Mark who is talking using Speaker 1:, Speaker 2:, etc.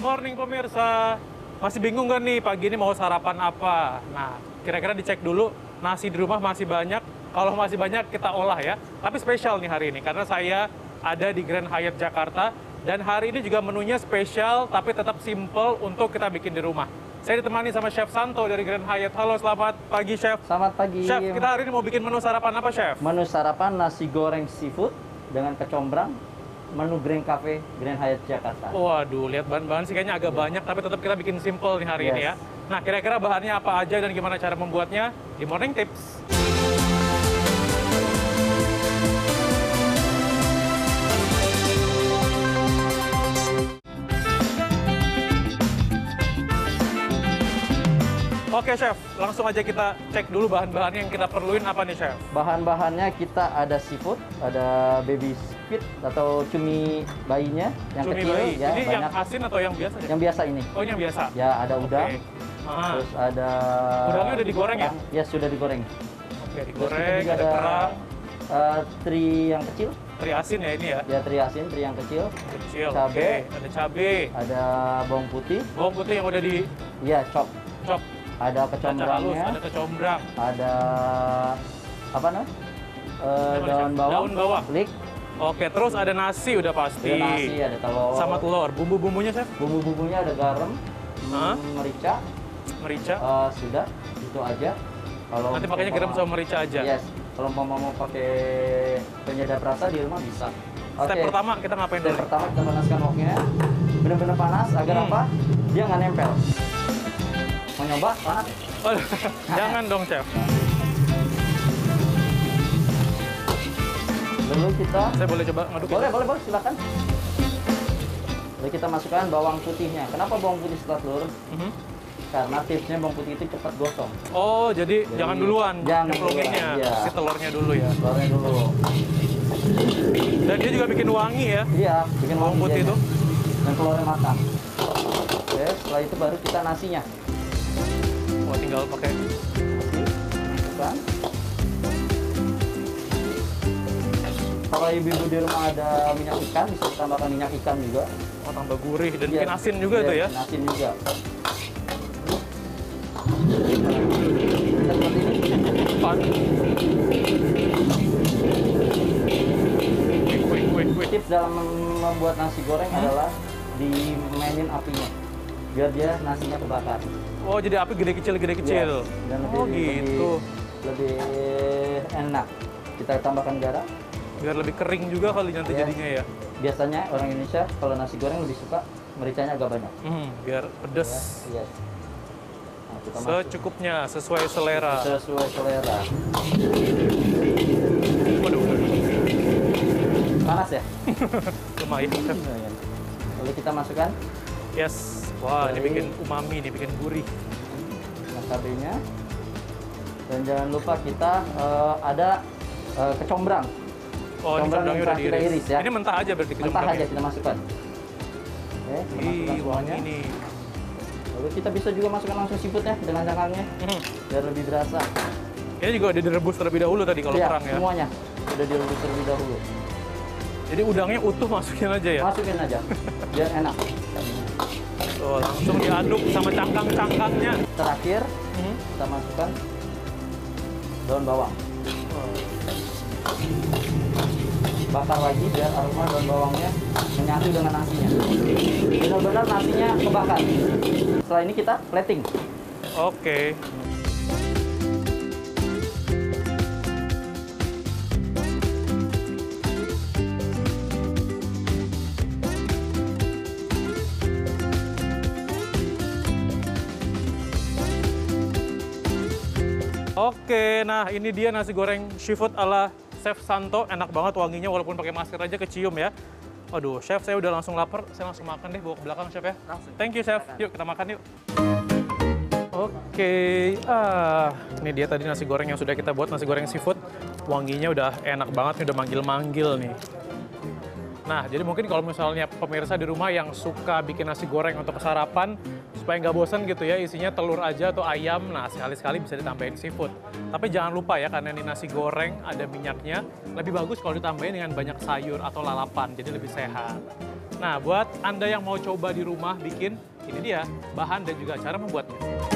Speaker 1: morning pemirsa. Masih bingung nggak nih pagi ini mau sarapan apa? Nah, kira-kira dicek dulu nasi di rumah masih banyak. Kalau masih banyak kita olah ya. Tapi spesial nih hari ini karena saya ada di Grand Hyatt Jakarta dan hari ini juga menunya spesial tapi tetap simple untuk kita bikin di rumah. Saya ditemani sama Chef Santo dari Grand Hyatt. Halo, selamat pagi Chef.
Speaker 2: Selamat pagi.
Speaker 1: Chef, kita hari ini mau bikin menu sarapan apa, Chef?
Speaker 2: Menu sarapan nasi goreng seafood dengan kecombrang. Menu Grand Cafe Grand Hyatt Jakarta.
Speaker 1: Waduh, lihat bahan-bahan sih kayaknya agak banyak, tapi tetap kita bikin simple nih hari ini ya.
Speaker 2: Yes.
Speaker 1: Nah, kira-kira bahannya apa aja dan gimana cara membuatnya di Morning Tips. Oke, Chef. Langsung aja kita cek dulu bahan-bahannya yang kita perluin apa nih, Chef.
Speaker 2: Bahan-bahannya kita ada seafood, ada baby squid atau cumi bayinya yang
Speaker 1: Cumi
Speaker 2: kecil
Speaker 1: bayi.
Speaker 2: ya,
Speaker 1: ini yang
Speaker 2: banyak.
Speaker 1: asin atau yang biasa? Chef?
Speaker 2: Yang biasa ini.
Speaker 1: Oh, ini yang biasa?
Speaker 2: Ya, ada udang,
Speaker 1: Oke. Ah,
Speaker 2: terus ada
Speaker 1: Udangnya udah digoreng ya?
Speaker 2: Ya, sudah digoreng.
Speaker 1: Oke,
Speaker 2: Terus kita
Speaker 1: digoreng,
Speaker 2: juga
Speaker 1: ada kerang,
Speaker 2: eh, teri yang kecil,
Speaker 1: teri asin ya ini ya.
Speaker 2: ya teri asin, teri yang kecil,
Speaker 1: Kecil,
Speaker 2: Cabe.
Speaker 1: oke. Ada cabe,
Speaker 2: ada bawang putih,
Speaker 1: bawang putih yang udah dicop,
Speaker 2: ya chop, ada
Speaker 1: ada halus, ada
Speaker 2: kecombrangnya,
Speaker 1: kecombrang.
Speaker 2: ada apa namanya? Eh,
Speaker 1: Apa nih,
Speaker 2: daun
Speaker 1: Chef?
Speaker 2: bawang,
Speaker 1: Daun bawang.
Speaker 2: klik,
Speaker 1: Oke, terus ada nasi udah pasti.
Speaker 2: ada nasi, ya. ada telur,
Speaker 1: Sama telur. Bumbu-bumbunya, Chef?
Speaker 2: bumbu-bumbunya ada garam,
Speaker 1: Hah?
Speaker 2: hmm, merica,
Speaker 1: Merica.
Speaker 2: eh, sudah itu aja. Kalau
Speaker 1: Nanti pakainya
Speaker 2: umpama-
Speaker 1: garam sama merica aja.
Speaker 2: Yes. Kalau mau mau pakai penyedap rasa di rumah bisa. Oke.
Speaker 1: Step pertama kita ngapain
Speaker 2: Step
Speaker 1: dulu? nih?
Speaker 2: pertama kita panaskan woknya. Benar-benar panas agar
Speaker 1: Hmm.
Speaker 2: apa? Dia nggak nempel. Mau nyoba? Panas.
Speaker 1: Aduh, Jangan dong, Chef.
Speaker 2: Lalu kita
Speaker 1: Saya boleh coba ngaduk ya?
Speaker 2: boleh boleh boleh silakan. Lalu kita masukkan bawang putihnya. Kenapa bawang putih setelah telur?
Speaker 1: Mhm.
Speaker 2: Karena tipsnya bawang putih itu cepat gosong.
Speaker 1: Oh, jadi, jangan duluan
Speaker 2: jangan
Speaker 1: nyemplunginnya.
Speaker 2: duluan, iya.
Speaker 1: Si telurnya dulu ya.
Speaker 2: Goreng dulu.
Speaker 1: Dan dia juga bikin wangi ya.
Speaker 2: Iya, bikin
Speaker 1: Bawang putih
Speaker 2: hijaunya.
Speaker 1: itu.
Speaker 2: Dan telurnya matang. Oke, setelah itu baru kita nasinya.
Speaker 1: Wah, tinggal pakai
Speaker 2: Bukan? Kalau ibu-ibu di rumah ada minyak ikan, bisa ditambahkan minyak ikan juga.
Speaker 1: oh, tambah gurih dan
Speaker 2: Iya.
Speaker 1: bikin asin juga
Speaker 2: Iya,
Speaker 1: tuh ya.
Speaker 2: bikin Asin juga. Kita seperti ini.
Speaker 1: Pan. Wih, wih, wih, wih.
Speaker 2: Tips dalam membuat nasi goreng
Speaker 1: Hmm?
Speaker 2: adalah dimainin apinya biar dia nasinya kebakar.
Speaker 1: Oh, jadi api gede kecil gede kecil.
Speaker 2: Yes, Dan Iya. lebih,
Speaker 1: oh, gitu.
Speaker 2: Lebih, lebih enak. Kita tambahkan garam.
Speaker 1: Biar lebih kering juga kali nanti
Speaker 2: Iya.
Speaker 1: jadinya ya.
Speaker 2: Biasanya orang Indonesia kalau nasi goreng lebih suka mericanya agak banyak.
Speaker 1: Hmm, biar pedes.
Speaker 2: Ya, yes. Nah, kita masuk
Speaker 1: Secukupnya sesuai selera.
Speaker 2: sesuai selera.
Speaker 1: Waduh, waduh.
Speaker 2: Panas ya?
Speaker 1: lumayan. Chef.
Speaker 2: Lalu kita masukkan
Speaker 1: Yes. Wah, ini
Speaker 2: Dari-
Speaker 1: bikin umami, ini bikin gurih.
Speaker 2: nasabenya. Dan jangan lupa kita eh, ada eh, kecombrang.
Speaker 1: Oh, ini kecombrangnya
Speaker 2: Kecombrang yang
Speaker 1: udah
Speaker 2: telah kita
Speaker 1: diiris.
Speaker 2: iris ya.
Speaker 1: Ini mentah aja berarti
Speaker 2: Mentah aja
Speaker 1: kecombrangnya.
Speaker 2: kita masukkan. Oke, kita
Speaker 1: Ih,
Speaker 2: masukkan
Speaker 1: wangi
Speaker 2: semuanya.
Speaker 1: nih.
Speaker 2: Lalu kita bisa juga masukkan langsung seafoodnya dengan cangkangnya
Speaker 1: Hmm.
Speaker 2: biar lebih berasa.
Speaker 1: Ini juga udah direbus terlebih dahulu tadi kalau
Speaker 2: Iya,
Speaker 1: kerang ya.
Speaker 2: semuanya sudah direbus terlebih dahulu.
Speaker 1: Jadi udangnya utuh masukin aja ya.
Speaker 2: Masukin aja biar enak.
Speaker 1: Tuh, langsung diaduk sama cangkang-cangkangnya.
Speaker 2: Terakhir
Speaker 1: Hmm.
Speaker 2: kita masukkan daun bawang. Bakar lagi biar aroma daun bawangnya menyatu dengan nasinya. Benar-benar nasinya kebakar. Setelah ini kita plating.
Speaker 1: Oke. Oke, nah ini dia nasi goreng seafood ala Chef Santo. Enak banget wanginya walaupun pakai masker aja kecium ya. Aduh, Chef, saya udah langsung lapar. Saya langsung makan deh, bawa ke belakang, Chef ya.
Speaker 2: Langsung.
Speaker 1: Thank you, Chef.
Speaker 2: Silakan.
Speaker 1: Yuk, kita makan yuk. Oke, ah ini dia tadi nasi goreng yang sudah kita buat nasi goreng seafood. Wanginya udah enak banget, nih, udah manggil-manggil nih. Nah, jadi mungkin kalau misalnya pemirsa di rumah yang suka bikin nasi goreng untuk sarapan, supaya nggak bosan gitu ya isinya telur aja atau ayam nah sekali-sekali bisa ditambahin seafood tapi jangan lupa ya karena ini nasi goreng ada minyaknya lebih bagus kalau ditambahin dengan banyak sayur atau lalapan jadi lebih sehat nah buat anda yang mau coba di rumah bikin ini dia bahan dan juga cara membuatnya